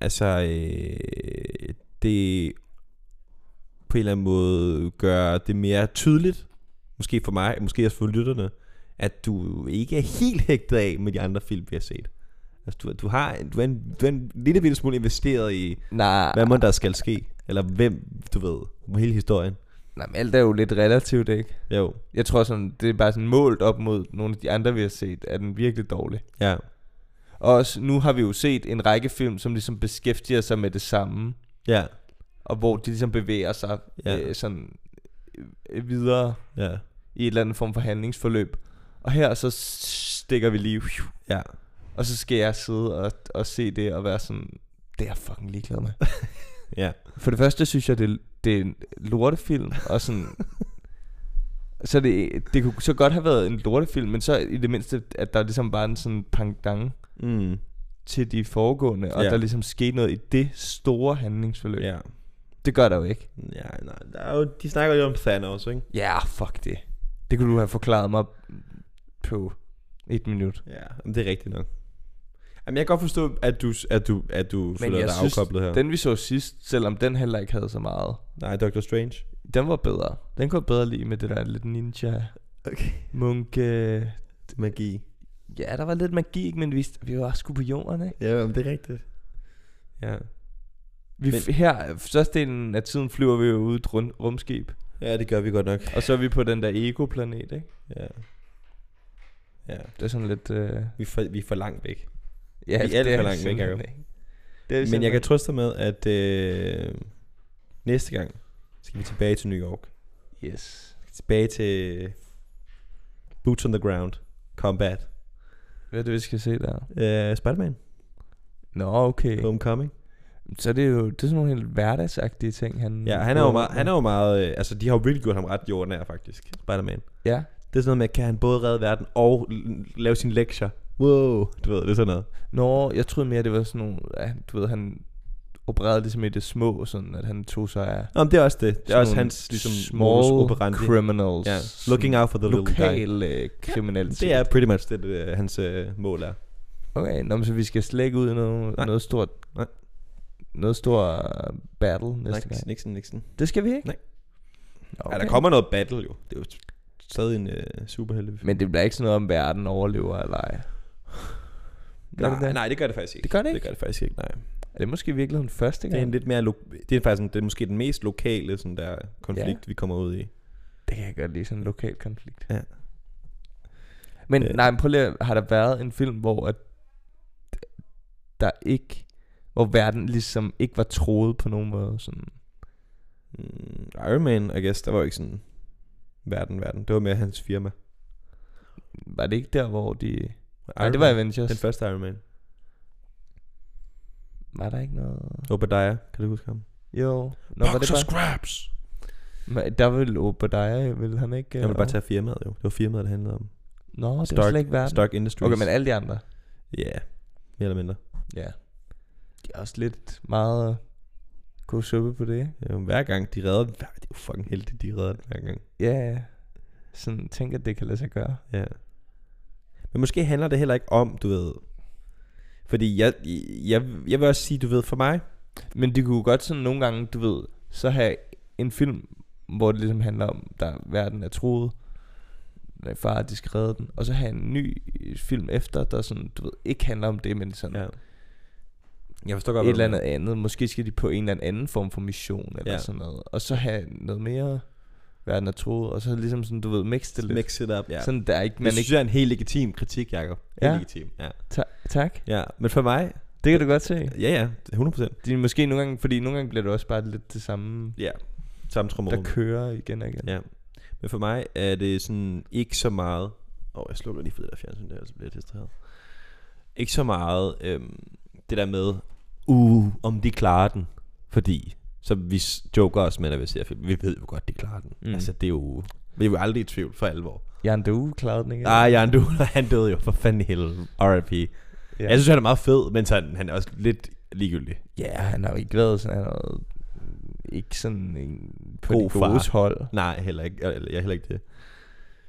Speaker 4: Altså, øh, det på en eller anden måde gør det mere tydeligt, måske for mig, måske også for lytterne, at du ikke er helt hægtet af med de andre film, vi har set. Altså, du, du har, du er en, du er en lille bitte smule investeret i,
Speaker 1: Nej,
Speaker 4: hvad må der skal ske? Eller hvem, du ved, om hele historien.
Speaker 1: nej, men alt er jo lidt relativt, ikke?
Speaker 4: Jo,
Speaker 1: Jeg tror sådan, det er bare sådan målt op mod nogle af de andre, vi har set, er den virkelig dårlig.
Speaker 4: ja,
Speaker 1: Og også, nu har vi jo set en række film, som ligesom beskæftiger sig med det samme,
Speaker 4: ja,
Speaker 1: og hvor de ligesom bevæger sig
Speaker 4: Ja.
Speaker 1: ja. øh, sådan øh, videre
Speaker 4: ja,
Speaker 1: i et eller andet form for handlingsforløb. Og her så stikker vi lige,
Speaker 4: ja.
Speaker 1: og så skal jeg sidde og, og se det og være sådan, det er jeg fucking ligeglad med.
Speaker 4: ja.
Speaker 1: For det første synes jeg, det, det er en lortefilm, og sådan... så det, det kunne så godt have været en lortefilm, men så i det mindste, at der ligesom var en sådan pangdang
Speaker 4: Mm,
Speaker 1: til de foregående, og
Speaker 4: Ja.
Speaker 1: ja. der ligesom skete noget i det store handlingsforløb. Ja.
Speaker 4: ja.
Speaker 1: Det gør der jo ikke.
Speaker 4: Ja, nej, der er jo, de snakker jo om Thanos, ikke?
Speaker 1: Ja, yeah, fuck det. Det kunne du have forklaret mig på et minut.
Speaker 4: Ja, men det er rigtigt nok. Jamen, jeg kan godt forstå, at du, at du, at du føler dig afkoblet her. Den...
Speaker 1: den vi så sidst, selvom den heller ikke havde så meget,
Speaker 4: Nej, Doctor Strange.
Speaker 1: den var bedre. Den kunne jeg bedre lide med det der lidt ninja,
Speaker 4: Okay.
Speaker 1: munke,
Speaker 4: Magi.
Speaker 1: Ja, der var lidt magi, ikke? men vi, vi var sgu på jorden, ikke?
Speaker 4: Ja, men det er rigtigt. Ja.
Speaker 1: Vi,
Speaker 4: Men-
Speaker 1: men... Her, størstedelen af tiden flyver vi jo ud i et rund- rumskib,
Speaker 4: Ja, det gør vi godt nok.
Speaker 1: og så er vi på den der ego-planet, ikke?
Speaker 4: Ja. Ja,
Speaker 1: Det er sådan lidt... Øh... Ja,
Speaker 4: vi er for, vi er for langt væk.
Speaker 1: det
Speaker 4: alt for langt væk,
Speaker 1: simpelthen
Speaker 4: Jacob.
Speaker 1: ikke. Det
Speaker 4: Men
Speaker 1: er vi
Speaker 4: jeg
Speaker 1: simpelthen
Speaker 4: kan trøste dig med, at øh, næste gang skal vi tilbage til New York.
Speaker 1: ikke. Yes.
Speaker 4: Tilbage til Boots on the Ground, Combat,
Speaker 1: Hvad er det, vi skal se der?
Speaker 4: øh, Spider-Man,
Speaker 1: Nå, okay.
Speaker 4: Homecoming.
Speaker 1: Så det er jo det er sådan nogle helt hverdagsagtige ting, han...
Speaker 4: Ja, han er jo meget, han er jo meget øh, altså de har jo virkelig gjort ham ret jordnær faktisk, Spider-Man.
Speaker 1: Ja,
Speaker 4: Det er sådan noget med, kan han både redde verden og l- lave sine lektier? Wow, du ved, det er sådan noget.
Speaker 1: Nå, jeg troede mere, det var sådan nogle... Ja, du ved, han opererede ligesom i det små, sådan at han tog sig af...
Speaker 4: Nå, men det er også det. Det er
Speaker 1: sådan
Speaker 4: også
Speaker 1: nogle
Speaker 4: hans ligesom, modus
Speaker 1: small
Speaker 4: operandi.
Speaker 1: criminals.
Speaker 4: Ja, looking out for the little guy.
Speaker 1: lokal øh, kriminalitet.
Speaker 4: Det er pretty much det, det øh, hans øh, mål er.
Speaker 1: Okay, nå, men så vi skal slet ikke ud i noget,
Speaker 4: Nej.
Speaker 1: noget stort...
Speaker 4: Nej.
Speaker 1: Noget stort øh, battle næste
Speaker 4: Nixon,
Speaker 1: gang.
Speaker 4: Nixon, Nixon.
Speaker 1: Det skal vi ikke?
Speaker 4: Nej.
Speaker 1: Nå,
Speaker 4: Okay. Ja,
Speaker 1: okay.
Speaker 4: der kommer noget battle jo. Det er jo stadig en øh, superhelte.
Speaker 1: Men det bliver ikke sådan noget om verden overlever eller ej. Gør det
Speaker 4: nej,
Speaker 1: det?
Speaker 4: nej, det gør det faktisk ikke.
Speaker 1: Det gør det
Speaker 4: Det
Speaker 1: ikke?
Speaker 4: gør det faktisk ikke, nej.
Speaker 1: Er det måske i virkeligheden første
Speaker 4: Det er
Speaker 1: gang?
Speaker 4: en lidt mere lo- det er faktisk en, det er måske den mest lokale sådan der konflikt ja. vi kommer ud i.
Speaker 1: Det kan jeg godt lide, sådan en lokal konflikt.
Speaker 4: Ja.
Speaker 1: Men
Speaker 4: Øh.
Speaker 1: øh. nej, men prøv lige, at- har der været en film, hvor at der ikke, hvor verden ligesom ikke var troet på nogen måde? Sådan.
Speaker 4: Mm, Iron Man, I guess, der var jo ikke sådan verden, verden. Det var mere hans firma.
Speaker 1: Var det ikke der, hvor de... Nej,
Speaker 4: Iron
Speaker 1: det var
Speaker 4: Man.
Speaker 1: Avengers.
Speaker 4: den første Iron Man.
Speaker 1: Var der ikke noget...
Speaker 4: Obadiah, kan du huske ham?
Speaker 1: Jo. Nå, var det
Speaker 2: Boxer
Speaker 1: bare...
Speaker 2: Scraps.
Speaker 1: Men der ville Obadiah, ville han ikke...
Speaker 4: Ja, Jeg vil bare
Speaker 1: øh,
Speaker 4: tage firmaet jo. Det var firmaet, det handlede om.
Speaker 1: Nå, det
Speaker 4: Stark-
Speaker 1: var slet ikke verden.
Speaker 4: Stark Industries.
Speaker 1: Okay, men alle de andre.
Speaker 4: Ja, yeah. mere eller mindre.
Speaker 1: Ja. De er også lidt meget god suppe på det, ikke?
Speaker 4: Ja, hver gang de redder den, hver- det er jo fucking heldigt, de redder den hver gang.
Speaker 1: Ja, ja. Sådan tænker, det kan lade sig gøre.
Speaker 4: Ja. Men måske handler det heller ikke om, du ved... Fordi jeg, jeg, jeg vil også sige, du ved, for mig...
Speaker 1: Men det kunne jo godt sådan nogle gange, du ved, så have en film, hvor det ligesom handler om, der verden er troet, der er i fare, at de skal redde den, og så have en ny øh, film efter, der sådan, du ved, ikke handler om det, men sådan ja,
Speaker 4: Jeg forstår godt,
Speaker 1: et
Speaker 4: hvad
Speaker 1: eller
Speaker 4: du
Speaker 1: andet andet. Måske skal de på en eller anden form for mission, eller
Speaker 4: Ja.
Speaker 1: ja. sådan noget. Og så have noget mere, verden er troet, og så ligesom sådan, du ved, mixe det
Speaker 4: mener.
Speaker 1: lidt. Mix,
Speaker 4: Mix it up, ja.
Speaker 1: ja.
Speaker 4: Sådan,
Speaker 1: Sådan der ikke,
Speaker 4: men det
Speaker 1: man
Speaker 4: synes
Speaker 1: ikke...
Speaker 4: jeg er en helt legitim kritik, Jacob. Helt
Speaker 1: Ja.
Speaker 4: legitim, ja.
Speaker 1: Ta- tak,
Speaker 4: ja. Men for mig,
Speaker 1: det kan du godt se.
Speaker 4: ja ja, 100%.
Speaker 1: Det er måske nogle gange, fordi nogle gange bliver det også bare lidt det samme,
Speaker 4: Ja, samme trommerum.
Speaker 1: der kører igen og igen.
Speaker 4: Ja. Men for mig er det sådan ikke så meget... Åh, oh, jeg slukker lige for det der fjernsyn der, så bliver jeg distraheret. Ikke så meget øhm, det der med, uh, om de klarer den. Fordi, så vi s- joker også med, når vi ser film. Vi ved jo godt, de klarer den. Mm.
Speaker 1: Mm.
Speaker 4: Altså, det er jo... Vi er jo aldrig i tvivl for alvor.
Speaker 1: Jan Due klarede den ikke.
Speaker 4: Ja. Ah, Jan du, han døde jo for fanden i helvede. R.I.P. Ja.
Speaker 1: ja.
Speaker 4: Jeg synes, han er meget fed, men sådan, han er også lidt ligegyldig.
Speaker 1: ja, han har jo ikke været sådan noget, ikke sådan en, på
Speaker 4: God
Speaker 1: God de
Speaker 4: far.
Speaker 1: godes hold.
Speaker 4: Nej, heller ikke. Jeg, jeg er heller ikke det.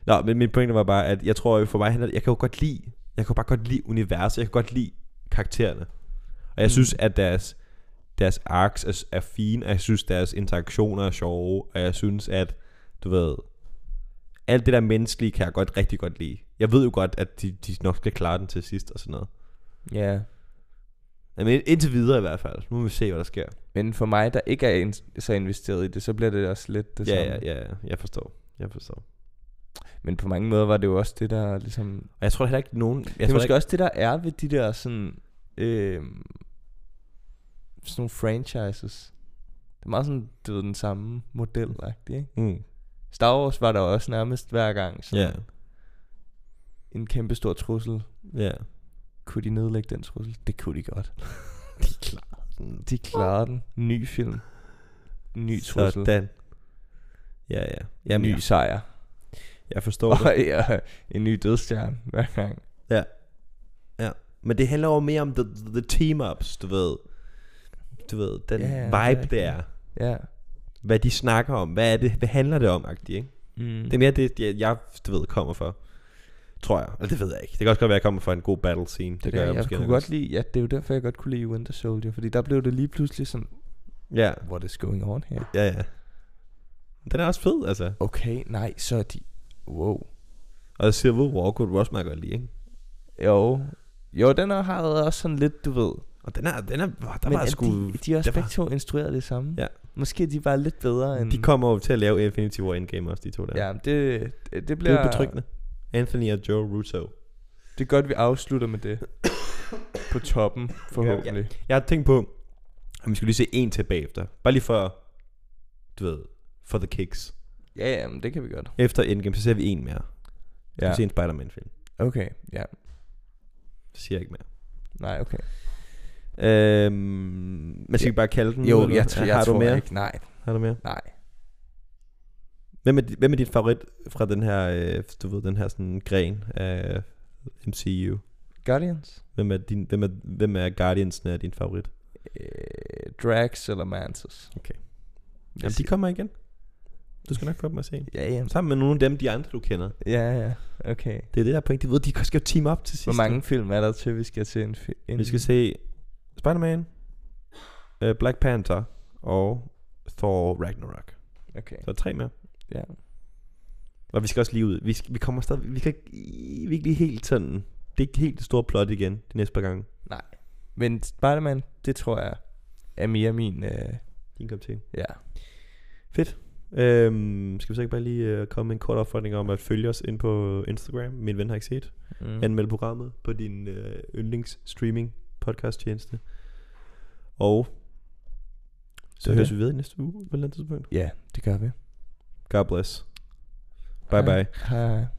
Speaker 4: Nå, men min pointe var bare, at jeg tror jo for mig, handler det- jeg kan jo godt lide, jeg kan jo bare godt lide universet, jeg kan godt lide karaktererne. Og jeg mm.
Speaker 1: Mm.
Speaker 4: synes, at deres, deres arcs er, er fine, og jeg synes, deres interaktioner er sjove, og jeg synes, at, du ved, alt det der menneskelige kan jeg godt rigtig godt lide. Jeg ved jo godt, at de, de nok skal klare den til sidst og sådan noget.
Speaker 1: Ja.
Speaker 4: Men indtil videre i hvert fald. Nu må vi se, hvad der sker.
Speaker 1: Men for mig, der ikke er in- så investeret i det, så bliver det også lidt det
Speaker 4: Ja,
Speaker 1: samme.
Speaker 4: ja, ja, ja, jeg forstår. Jeg forstår.
Speaker 1: Men på mange måder var det jo også det, der ligesom...
Speaker 4: Og jeg tror heller ikke nogen... Jeg
Speaker 1: det er
Speaker 4: tror ikke,
Speaker 1: måske ikke... også det, der er ved de der sådan... Øh, sådan nogle franchises. Det er meget sådan, du ved, den samme model ikke?
Speaker 4: Mm,
Speaker 1: Star Wars var der også nærmest hver gang sådan
Speaker 4: ja,
Speaker 1: en kæmpe stor trussel.
Speaker 4: ja.
Speaker 1: Kunne de nedlægge den trussel? Det kunne de godt.
Speaker 4: De klarer den.
Speaker 1: De klarer den. Ny film. Ny trussel.
Speaker 4: Sådan. Ja, ja.
Speaker 1: Jamen,
Speaker 4: Jamen,
Speaker 1: ny sejr.
Speaker 4: jeg forstår det.
Speaker 1: Og ja, en ny dødstjerne hver gang.
Speaker 4: Men det handler jo mere om the, the team-ups, du ved. Du ved, den
Speaker 1: Ja, ja,
Speaker 4: yeah,
Speaker 1: det er
Speaker 4: vibe
Speaker 1: rigtigt.
Speaker 4: der er.
Speaker 1: Ja.
Speaker 4: Hvad de snakker om. Hvad er det? Hvad handler det om, agtigt, ikke?
Speaker 1: Mm.
Speaker 4: Det er mere det, jeg, jeg du ved, kommer for. Tror jeg. Eller det ved jeg ikke. Det kan også godt være, at jeg kommer for en god battle scene. Det,
Speaker 1: det,
Speaker 4: gør
Speaker 1: der,
Speaker 4: jeg,
Speaker 1: jeg,
Speaker 4: måske.
Speaker 1: kunne
Speaker 4: nok
Speaker 1: godt
Speaker 4: også.
Speaker 1: lide, ja, det er jo derfor, jeg godt kunne lide Winter Soldier, fordi der blev det lige pludselig sådan,
Speaker 4: Ja,
Speaker 1: what is going on her?
Speaker 4: ja, ja. Den er også fed, altså.
Speaker 1: Okay, nej, så er de, wow.
Speaker 4: Og Civil War kunne du også meget godt lide, ikke?
Speaker 1: Jo, jo, den her har også sådan lidt, du ved.
Speaker 4: Og den er, den er, der
Speaker 1: Men
Speaker 4: var
Speaker 1: at
Speaker 4: sgu...
Speaker 1: de, de er også
Speaker 4: der var-
Speaker 1: begge to instrueret det samme.
Speaker 4: Ja.
Speaker 1: Måske er de bare lidt bedre end...
Speaker 4: De kommer jo til at lave Infinity War Endgame også, de to der.
Speaker 1: Ja, det, det, det
Speaker 4: Det
Speaker 1: bliver...
Speaker 4: er betryggende. Anthony og Joe Russo.
Speaker 1: Det er godt, vi afslutter med det. på toppen, forhåbentlig.
Speaker 4: Jeg har tænkt på, at vi skal lige se en til bagefter. Bare lige for, du ved, for the kicks.
Speaker 1: Ja, ja, men det kan vi godt.
Speaker 4: Efter Endgame, så ser vi en mere. Ja.
Speaker 1: Ja.
Speaker 4: Vi ser en Spider-Man-film.
Speaker 1: Okay, ja.
Speaker 4: Så siger jeg ikke mere.
Speaker 1: Nej, okay.
Speaker 4: Øhm, man skal
Speaker 1: Ja.
Speaker 4: ikke bare kalde den.
Speaker 1: Jo,
Speaker 4: eller
Speaker 1: jeg,
Speaker 4: hvad?
Speaker 1: tr- jeg
Speaker 4: har
Speaker 1: tror
Speaker 4: du mere?
Speaker 1: ikke. Nej,
Speaker 4: Har du mere?
Speaker 1: nej.
Speaker 4: Hvem er, di- hvem er dit favorit fra den her, øh, du ved, den her sådan gren af MCU?
Speaker 1: Guardians?
Speaker 4: Hvem er, din, hvem er, hvem er Guardians'ne er din favorit?
Speaker 1: Øh, Drax eller Mantis?
Speaker 4: Okay.
Speaker 1: Hvis
Speaker 4: Jamen, de kommer igen. Du skal nok få dem at se.
Speaker 1: Ja, jamen.
Speaker 4: Sammen med nogle af dem, de andre, du kender.
Speaker 1: Ja, ja. Okay.
Speaker 4: Det er det der point. De ved, de skal jo team op til sidst.
Speaker 1: Hvor mange film er der til, vi skal se en, fi- en
Speaker 4: Vi skal se Spider-Man, øh, Black Panther og Thor Ragnarok.
Speaker 1: Okay.
Speaker 4: Så tre mere.
Speaker 1: Ja.
Speaker 4: Og vi skal også lige ud. Vi, skal, vi kommer stadig... Vi kan ikke, vi er ikke lige helt sådan... Det er ikke helt det store plot igen de næste par gange.
Speaker 1: Men Spider-Man, det tror jeg er mere min... Øh,
Speaker 4: Din kop til.
Speaker 1: ja.
Speaker 4: Øhm, skal vi så ikke bare lige øh, komme med en kort opfordring om at følge os ind på Instagram? Min ven har ikke set.
Speaker 1: Mm.
Speaker 4: Anmeld programmet på din øh, yndlings streaming podcast tjeneste. Og så
Speaker 1: er
Speaker 4: høres
Speaker 1: det.
Speaker 4: vi ved i næste uge på et eller andet tidspunkt.
Speaker 1: Ja, det gør vi.
Speaker 4: God bless. Bye bye.
Speaker 1: Hej. Hej.